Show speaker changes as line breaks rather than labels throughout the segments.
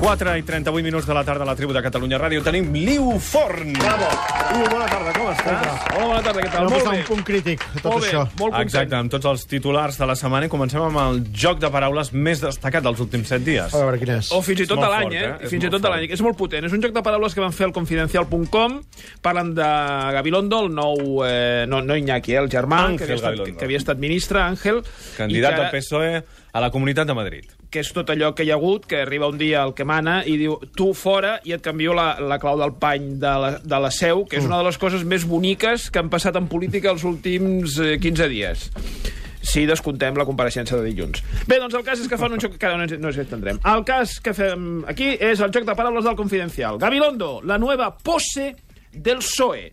4 i 38 minuts de la tarda a la tribu de Catalunya Ràdio tenim Liu Forn.
Bravo. Iu, bona tarda, com estàs?
Hola, bona tarda, què tal?
Vam
Molt
posar
bé.
un punt crític a tot
Molt bé,
això.
molt content. Exacte, amb tots els titulars de la setmana i comencem amb el joc de paraules més destacat dels últims 7 dies.
A veure quin és.
O fins i
Ah, És
tot de
molt
l'any,
fort,
eh?
eh? És
Fins i
molt
tot de l'any.
fort.
És molt potent. És un joc de paraules que van fer al confidencial.com. Parlen de Gabilondo, el nou... Eh, no, no Iñaki, eh? El germà,
Àngel
que, havia estat,
Gabilondo.
que havia estat ministre, Àngel. i
Candidat
que
del PSOE E a la Comunitat de Madrid.
que és tot allò que hi ha hagut, que arriba un dia el que mana i diu tu fora i et canvio la, la clau del pany de la, de la seu, que és una de les coses més boniques que han passat en política els últims eh, 15 dies. Si descontem la compareixença de dilluns. Bé, doncs el cas és que fan un joc que ara no ens, no ens entendrem. El cas que fem aquí és el joc de paraules del Confidencial. Gabilondo, la nueva pose del PSOE.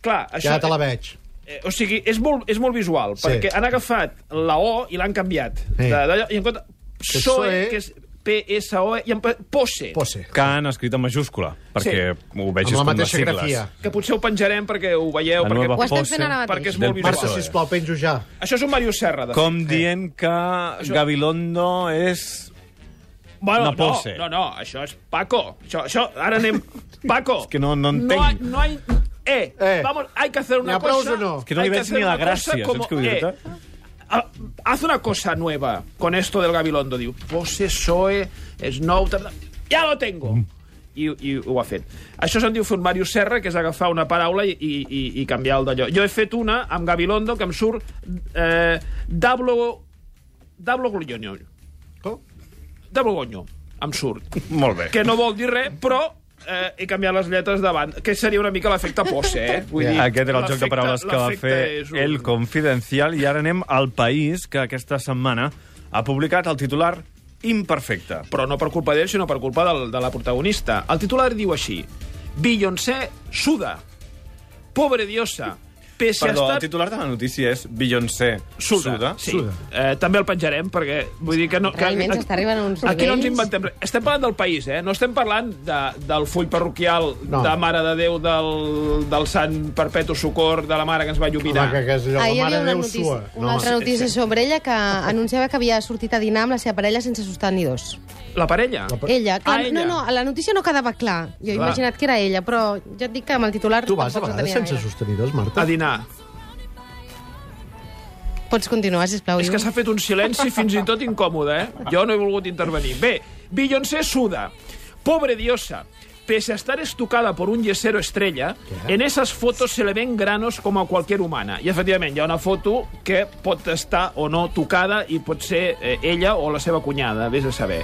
Clar, això...
Ja te la veig.
Eh, o sigui, és molt, és molt visual,
Sí.
sí. perquè han agafat la O i l'han canviat.
Sí.
Sí. De, d'allò- I en compte...
és
PSOE,
SOE,
E, que és P-S-O-E, E, i en pa- POSE.
Posse.
Que han escrit en majúscula, perquè ho vegis com
Amb la
les
mateixa
sigles.
grafia.
Que potser ho penjarem perquè ho veieu,
La
perquè,
nova
Ho estem
pose
fent ara mateix.
perquè és
del
molt
PSOE.
visual.
Marta, sisplau, penjo ja.
Això és un Mario Serra, de
E. Com dient que Gabilondo és...
fet. Bueno,
una pose.
No, no, no, això és Paco. Això, això ara anem... Paco.
que no- no entenc.
No hay, no hay... Eh,
Eh.
eh, vamos, hay que hacer una
N'hi ha prous
cosa...
o no?
És que no
hay
li veig
hacer
ni la
una cosa
gràcia,
como-
saps què vull dir?
eh, Ah, haz una cosa nueva con esto del Gabilondo. Diu, pose, soe, snow... tal, tal. Ja lo tengo!
Mm.
I, I ho ha fet. Això se'n diu fer un Mario Serra, que és agafar una paraula i, i, i, i canviar el d'allò. Jo he fet una amb Gabilondo que em surt eh, Dablo... Dablo Glogno.
Com?
Dablo Glogno, em surt.
Molt bé.
Que no vol dir res, però eh, he canviat les lletres davant, que seria una mica l'efecte pose, eh? Vull
Ja.
dir,
Aquest era el joc de
l'efecte-
paraules que va
l'efecte
fer
és un-
El Confidencial i ara anem al País, que aquesta setmana ha publicat el titular Imperfecte.
però no per culpa d'ell, sinó per culpa del, de la protagonista. El titular diu així, Beyoncé suda, pobre diosa, pese
Perdó,
a
el
estar...
titular de la notícia és Beyoncé
Suda,
suda.
sí.
Suda.
Eh, també el penjarem, perquè vull dir que no... Que,
Realment s'està arribant a uns
Aquí no ens
nivells.
inventem res. Estem parlant del país, eh? No estem parlant de, del full parroquial no.
No.
de Mare de Déu, del, del Sant Perpetu Socor, de la Mare que ens va
Home,
llupinar.
que, que és allò,
Ahir hi
la
havia
mare
una,
Déu
notícia,
sua.
una altra notícia sobre ella que anunciava que havia sortit a dinar amb la seva parella sense sostenidors.
La parella.
La pa-
Ella, clar,
Ah, ella.
no, no, a la notícia no quedava clar. Jo he
Clar.
imaginat que era ella, però ja et dic que amb el titular
Tu vas a
tampoc no
vegades
tenia
sense
gaire.
sostenidors,
A
Marta?
dinar.
Pots continuar, sisplau.
És que s'ha fet un silenci fins i tot incòmode, eh? Jo no he volgut intervenir. Bé, Beyoncé suda. Pobre diosa. Pese a estar estucada por un yesero estrella,
Què?
en esas fotos se le ven granos como a cualquier humana. I, efectivament, hi ha una foto que pot estar o no tocada i pot ser eh, ella o la seva cunyada, vés a saber.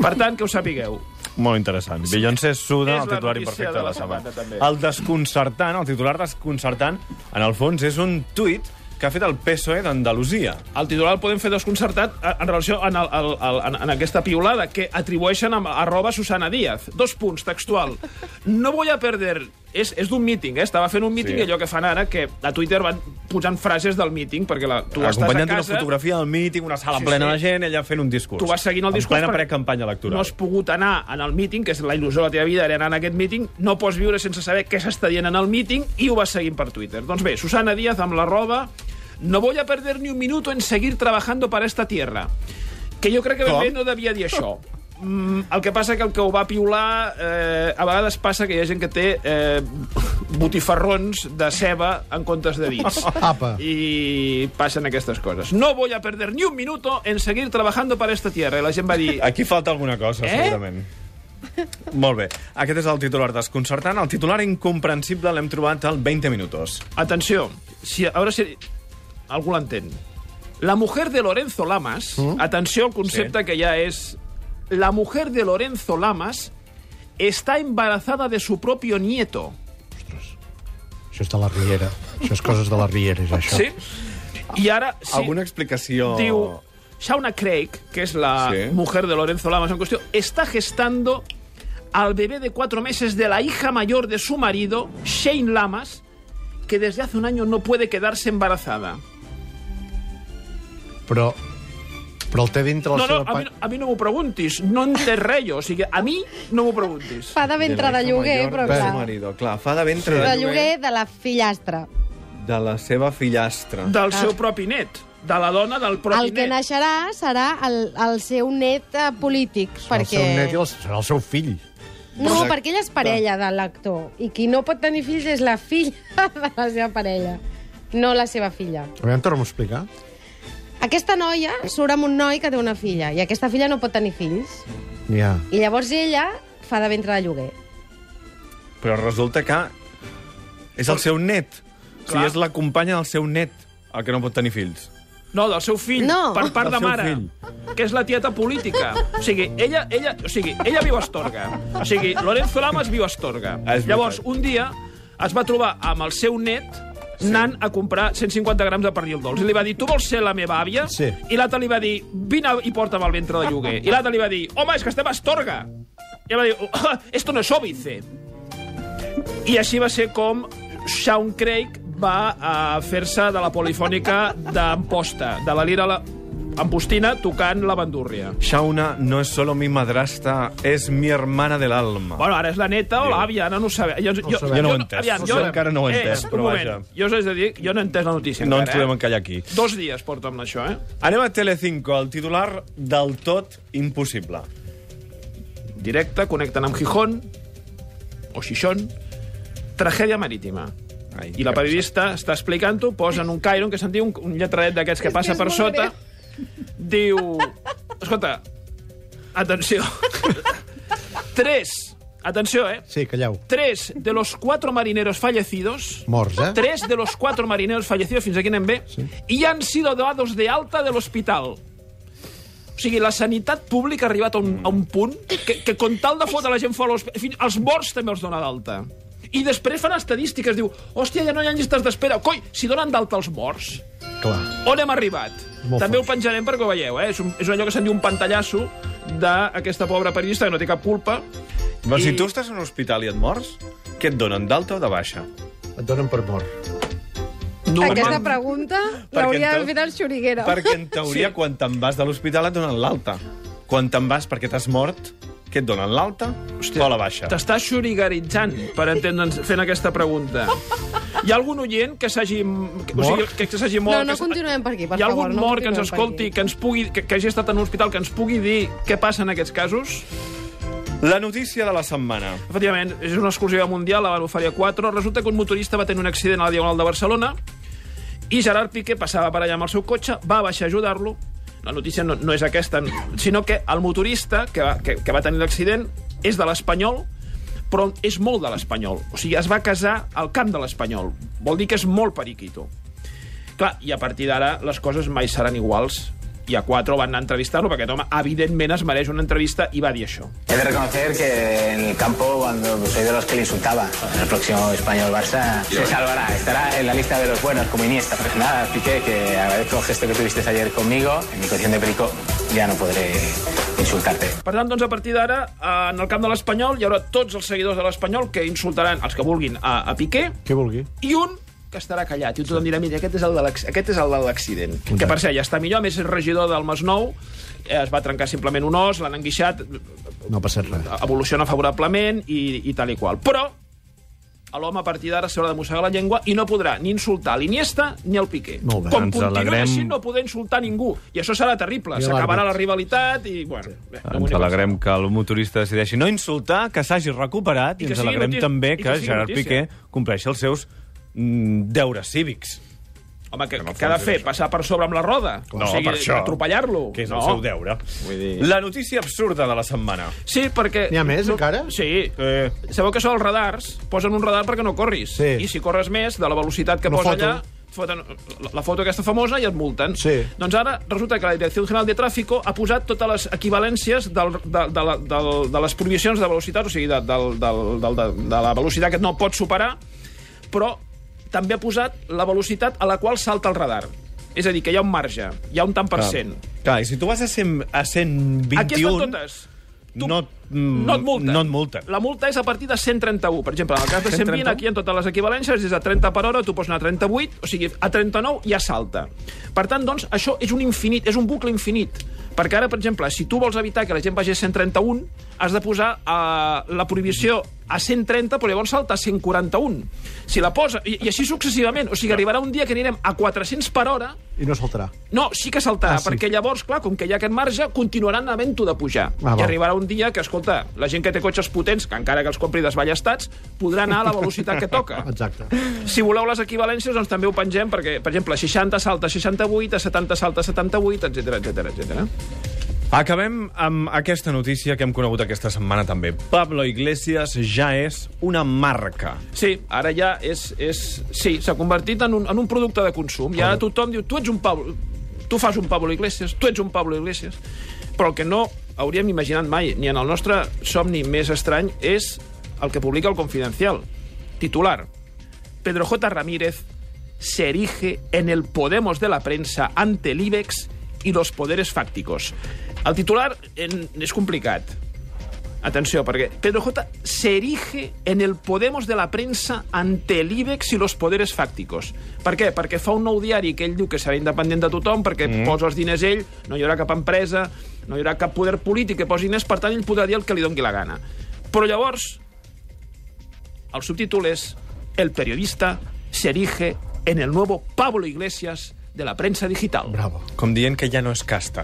Per tant, que ho sapigueu.
Molt interessant. Beyoncé suda,
És
el
la
titular
notícia
imperfecte
de
de la
la
setmana.
setmana, també.
El desconcertant, el titular desconcertant, en el fons és un tuit que ha fet el PSOE E d'Andalusia.
El titular el podem fer desconcertat eh, en relació en, el, el, el, en, en aquesta piulada que atribueixen a arroba Susana Díaz. Dos punts, textual. No voy a perder... És, és d'un míting, eh? Estava fent un míting
Sí.
i allò que fan ara, que a Twitter van posant frases del míting, perquè la, tu estàs a
Acompanyant d'una
casa...
fotografia del míting, una sala
Sí,
plena
sí.
de gent, ella fent un discurs.
Tu vas seguint el discurs
En plena
perquè
precampanya electoral.
No has pogut anar en el míting, que és la il·lusió de la teva vida, era anar en aquest míting, no pots viure sense saber què s'està dient en el míting i ho vas seguint per Twitter. Doncs bé, Susana Díaz amb la roba... No voy a perder ni un minuto en seguir trabajando para esta tierra. Que jo crec que ben
Com?
bé no devia dir això. Mm, el que passa que el que ho va piular eh, a vegades passa que hi ha gent que té eh, botifarrons de ceba en comptes de dits.
Apa.
I passen aquestes coses. No voy a perder ni un minuto en seguir trabajando para esta tierra. I la gent va dir...
Aquí falta alguna cosa,
Eh?
segurament. Molt bé. Aquest és el titular desconcertant. El titular incomprensible l'hem trobat al 20 minutos.
Atenció, si, a veure si algú l'entén. La mujer de Lorenzo Lamas, atenció al concepte
Mm. Sí.
que ja és... La mujer de Lorenzo Lamas está embarazada de su propio nieto.
Això és de la Riera. Això és coses de la Riera, és això.
Sí? I ara... Sí,
Alguna explicació...
Diu, Shauna Craig, que es la
Sí.
mujer de Lorenzo Lamas en cuestión, está gestando al bebé de cuatro meses de la hija mayor de su marido, Shane Lamas, que desde hace un año no puede quedarse embarazada.
Però... Però el té dintre la
No, no,
seva...
a mi,
pa-
a mi no m'ho preguntis, no en té res, jo, o sigui, a mi no m'ho preguntis.
Fa de ventre de lloguer,
de
però clar.
su marido, clar. Fa de ventre
De
de
lloguer de la fillastra.
de la seva fillastra.
Del seu propi net. de la dona del propi
Ah. El que
net.
naixerà serà el, el seu net eh, polític,
Serà
perquè...
El seu net i el, serà el seu fill.
No,
Exacte.
perquè ella és parella de l'actor, i qui no pot tenir fills és la filla de la seva parella, no la seva filla.
A veure, torna'm a explicar.
Aquesta noia surt amb un noi que té una filla, i aquesta filla no pot tenir fills.
Ja.
I llavors ella fa de ventre de lloguer.
Però resulta que és el seu net. O sigui,
Clar.
és la companya del seu net, el que no pot tenir fills.
No, del seu fill,
No.
per part
Del
de
seu
mare,
fill.
que és la tieta política. O sigui, ella, ella, o sigui, ella viu a Astorga. O sigui, Lorenzo Lamas viu a Astorga.
Ah, és veritat.
Llavors, un dia es va trobar amb el seu net anant a comprar 150 grams de pernil dolç. I li va dir, tu vols ser la meva àvia?
Sí.
I l'altre li va dir, vine i porta'm el ventre de lloguer. I l'altre li va dir, home, és que estem a Astorga. I ella va dir, "Oh, esto no es óbice. I així va ser com Sean Craig va a fer-se de la polifònica d'Amposta, de la lira la... ampostina tocant la bandúrria.
Shauna no es solo mi madrastra, es mi hermana del alma.
Bueno, ara és la neta o l'àvia, ara no ho sabem. Jo, jo,
sabem. Jo no
ho he entès.
aviam,
Jo encara no ho he
Eh,
entès,
un
però
moment.
vaja.
Jo us haig de dir, jo no he entès la notícia
no ens
encara,
podem encallar aquí.
eh? Dos dies porta amb això, eh?
Anem a Telecinco, el titular del tot impossible.
Directe, connecten amb Gijón, o Xixón, tragèdia marítima.
Ai,
I la
que
periodista està explicant-ho, posa en un cairon, que se'n diu un, un lletradet d'aquests que
És que
passa
és
per
molt
sota, diu... Escolta, atenció. Tres, atenció, eh?
Sí, calleu.
Tres de los cuatro marineros fallecidos...
Morts, eh?
Tres de los cuatro marineros fallecidos, fins aquí anem bé,
Sí.
i han sido dados de alta de l'hospital. O sigui, la sanitat pública ha arribat a un, a un punt que, que con tal de fotre la gent fora a l'hospital... fins- Els morts també els dona d'alta. I després fan estadístiques, diu, hòstia, ja no hi ha llistes d'espera. Coi, si donen d'alta els morts,
Clar.
on hem arribat?
Molt
També ho
fort.
penjarem perquè ho veieu, eh? És, un, és allò que se'n diu un pantallasso d'aquesta pobra periodista que no té cap culpa.
Però
I-
si tu estàs en un hospital i et mors, què et donen, d'alta o de baixa?
Et donen per mort.
Normal-
Aquesta pregunta
Perquè
l'hauria
en
de fer el xuriguera.
Perquè en teoria,
Sí.
sí. quan te'n vas de l'hospital et donen l'alta. Quan te'n vas perquè t'has mort, què et donen, l'alta o la baixa?
T'està xurigaritzant per entendre'ns fent aquesta pregunta. Hi ha algun oient que s'hagi... que- O sigui,
Mort?
que s'hagi mort...
No, no
que s-
continuem per aquí, per
Hi ha algun
favor, no
mort que ens
continuem per
escolti,
aquí.
que ens pugui... Que, que hagi estat en un hospital, que ens pugui dir què passa en aquests casos?
La notícia de la setmana.
Efectivament, és una exclusiva mundial, la van oferir a 4. Resulta que un motorista va tenir un accident a la Diagonal de Barcelona i Gerard Piqué passava per allà amb el seu cotxe, va baixar a ajudar-lo. La notícia no, no és aquesta, sinó que el motorista que va, que, que va tenir l'accident és de l'Espanyol, però és molt de l'Espanyol. O sigui, es va casar al camp de l'Espanyol. Vol dir que és molt periquito. Clar, i a partir d'ara les coses mai seran iguals. I a 4 van anar a entrevistar-lo, perquè aquest home evidentment es mereix una entrevista i va dir això.
He de reconocer que en el campo, cuando soy de los que le insultaba, en el próximo Español-Barça se salvará, estará en la lista de los buenos, como Iniesta. Pues nada, Piqué, que agradezco el gesto que tuviste ayer conmigo. En mi condición de perico ya no podré insultarte.
Per tant, doncs, a partir d'ara, eh, en el camp de l'Espanyol hi haurà tots els seguidors de l'Espanyol que insultaran els que vulguin a, a Piqué
Què vulgui.
i un que estarà callat. I tothom dirà, mira, aquest és el de l'acc- aquest és el de l'accident. Que, per cert, ja està millor, a més, és regidor del Masnou, eh, es va trencar simplement un os, l'han enguixat,
No ha passat res.
evoluciona favorablement i, i tal i qual. Però a l'home a partir d'ara s'haurà de mossegar la llengua i no podrà ni insultar l'Iniesta ni el Piqué.
Molt bé,
Com
ens
continuï
alegrem-
així no poder insultar ningú. I això serà terrible.
I
S'acabarà la
l'àrbit.
rivalitat i, bueno... bé, no m'ho
Ens
ni
alegrem que el motorista decideixi no insultar, que s'hagi recuperat,
I
i,
que
ens
sigui
alegrem
notícia-
també que,
i que sigui
Gerard
notícia.
Piqué compleixi els seus mm, deures cívics,
Home, que,
no
que ha de
fons
fer?
és això.
Passar per sobre amb la roda?
No, per això.
Atropellar-lo?
que és
no.
el seu deure.
dir-
La notícia absurda de la setmana.
Sí, perquè...
N'hi ha més, encara?
Sí.
Eh,
Sabeu que això dels radars, posen un radar perquè no corris.
Sí.
I si corres més, de la velocitat que
Una
posa
foto.
allà, et foten la- la foto aquesta famosa i et multen.
Sí.
Doncs ara resulta que la Direcció General de Tràfico ha posat totes les equivalències del, de, de, la- del, de les prohibicions de velocitat, o sigui, de, del, del, del, de, de la velocitat que no pots superar, però també ha posat la velocitat a la qual salta el radar. És a dir, que hi ha un marge, hi ha un tant per cent.
Ah, Clar, i si tu vas a, 100, a
Aquí
121,
estan totes.
no, mm,
No et multen.
No et multen.
La multa és a partir de 131. Per exemple, en el cas de 120, aquí en totes les equivalències, és a 30 per hora, tu pots anar a 38, o sigui, a 39 ja salta. Per tant, doncs, això és un infinit, és un bucle infinit. Perquè ara, per exemple, si tu vols evitar que la gent vagi a 131, has de posar eh, la prohibició a 130, però llavors salta a 141. Si la posa... I, I així successivament. O sigui, arribarà un dia que anirem a 400 per hora
I no saltarà.
no, sí que saltarà,
Ah,
ah,
sí.
sí. perquè llavors, clar, com que hi ha aquest marge, continuaran havent-ho de pujar.
Ah,
Ah,
val.
I arribarà un dia que, escolta, la gent que té cotxes potents, que encara que els compri desballestats, podrà anar a la velocitat que toca.
Exacte.
Si voleu les equivalències, doncs també ho pengem, perquè, per exemple, 60 salta a 68, a 70 salta a 78, etc etc etc.
Acabem amb aquesta notícia que hem conegut aquesta setmana també. Pablo Iglesias ja és una marca.
Sí, ara ja és... és sí, s'ha convertit en un, en un producte de consum. Ja tothom diu, tu ets un Pablo... Tu fas un Pablo Iglesias, tu ets un Pablo Iglesias. Però el que no hauríem imaginat mai, ni en el nostre somni més estrany, és el que publica el Confidencial. Titular. Pedro J. Ramírez se erige en el Podemos de la prensa ante el IBEX y los poderes fácticos. El titular en, és complicat. Atenció, perquè Pedro J. se erige en el Podemos de la premsa ante el IBEX i los poderes fàcticos. Per què? Perquè fa un nou diari que ell diu que serà independent de tothom, perquè mm. posa els diners ell, no hi haurà cap empresa, no hi haurà cap poder polític que posi diners, per tant, ell podrà dir el que li doni la gana. Però llavors, el subtítol és El periodista se erige en el nuevo Pablo Iglesias de la premsa digital.
Bravo.
Com dient que ja no és casta.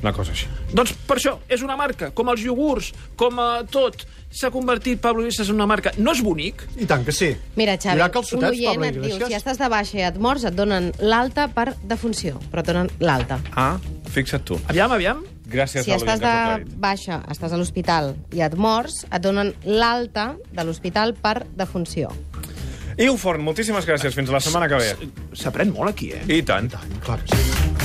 Una cosa així.
Doncs per això, és una marca, com els iogurts, com a tot. S'ha convertit Pablo Iglesias en una marca. No és bonic?
I tant que sí.
Mira,
Hi
Xavi,
haurà
un
calçotets,
oient
Pablo
et diu, si
Iglesias?
estàs de baixa i et mors, et donen l'alta per defunció, però et donen l'alta.
Ah, fixa't tu.
Aviam, aviam.
Gràcies,
Si
Pablo,
estàs
que has
de
aclarit.
baixa, estàs a l'hospital i et mors, et donen l'alta de l'hospital per defunció.
Iu Forn, moltíssimes gràcies. Fins la setmana que ve.
S'aprèn molt aquí, eh?
I tant.
Clar que sí.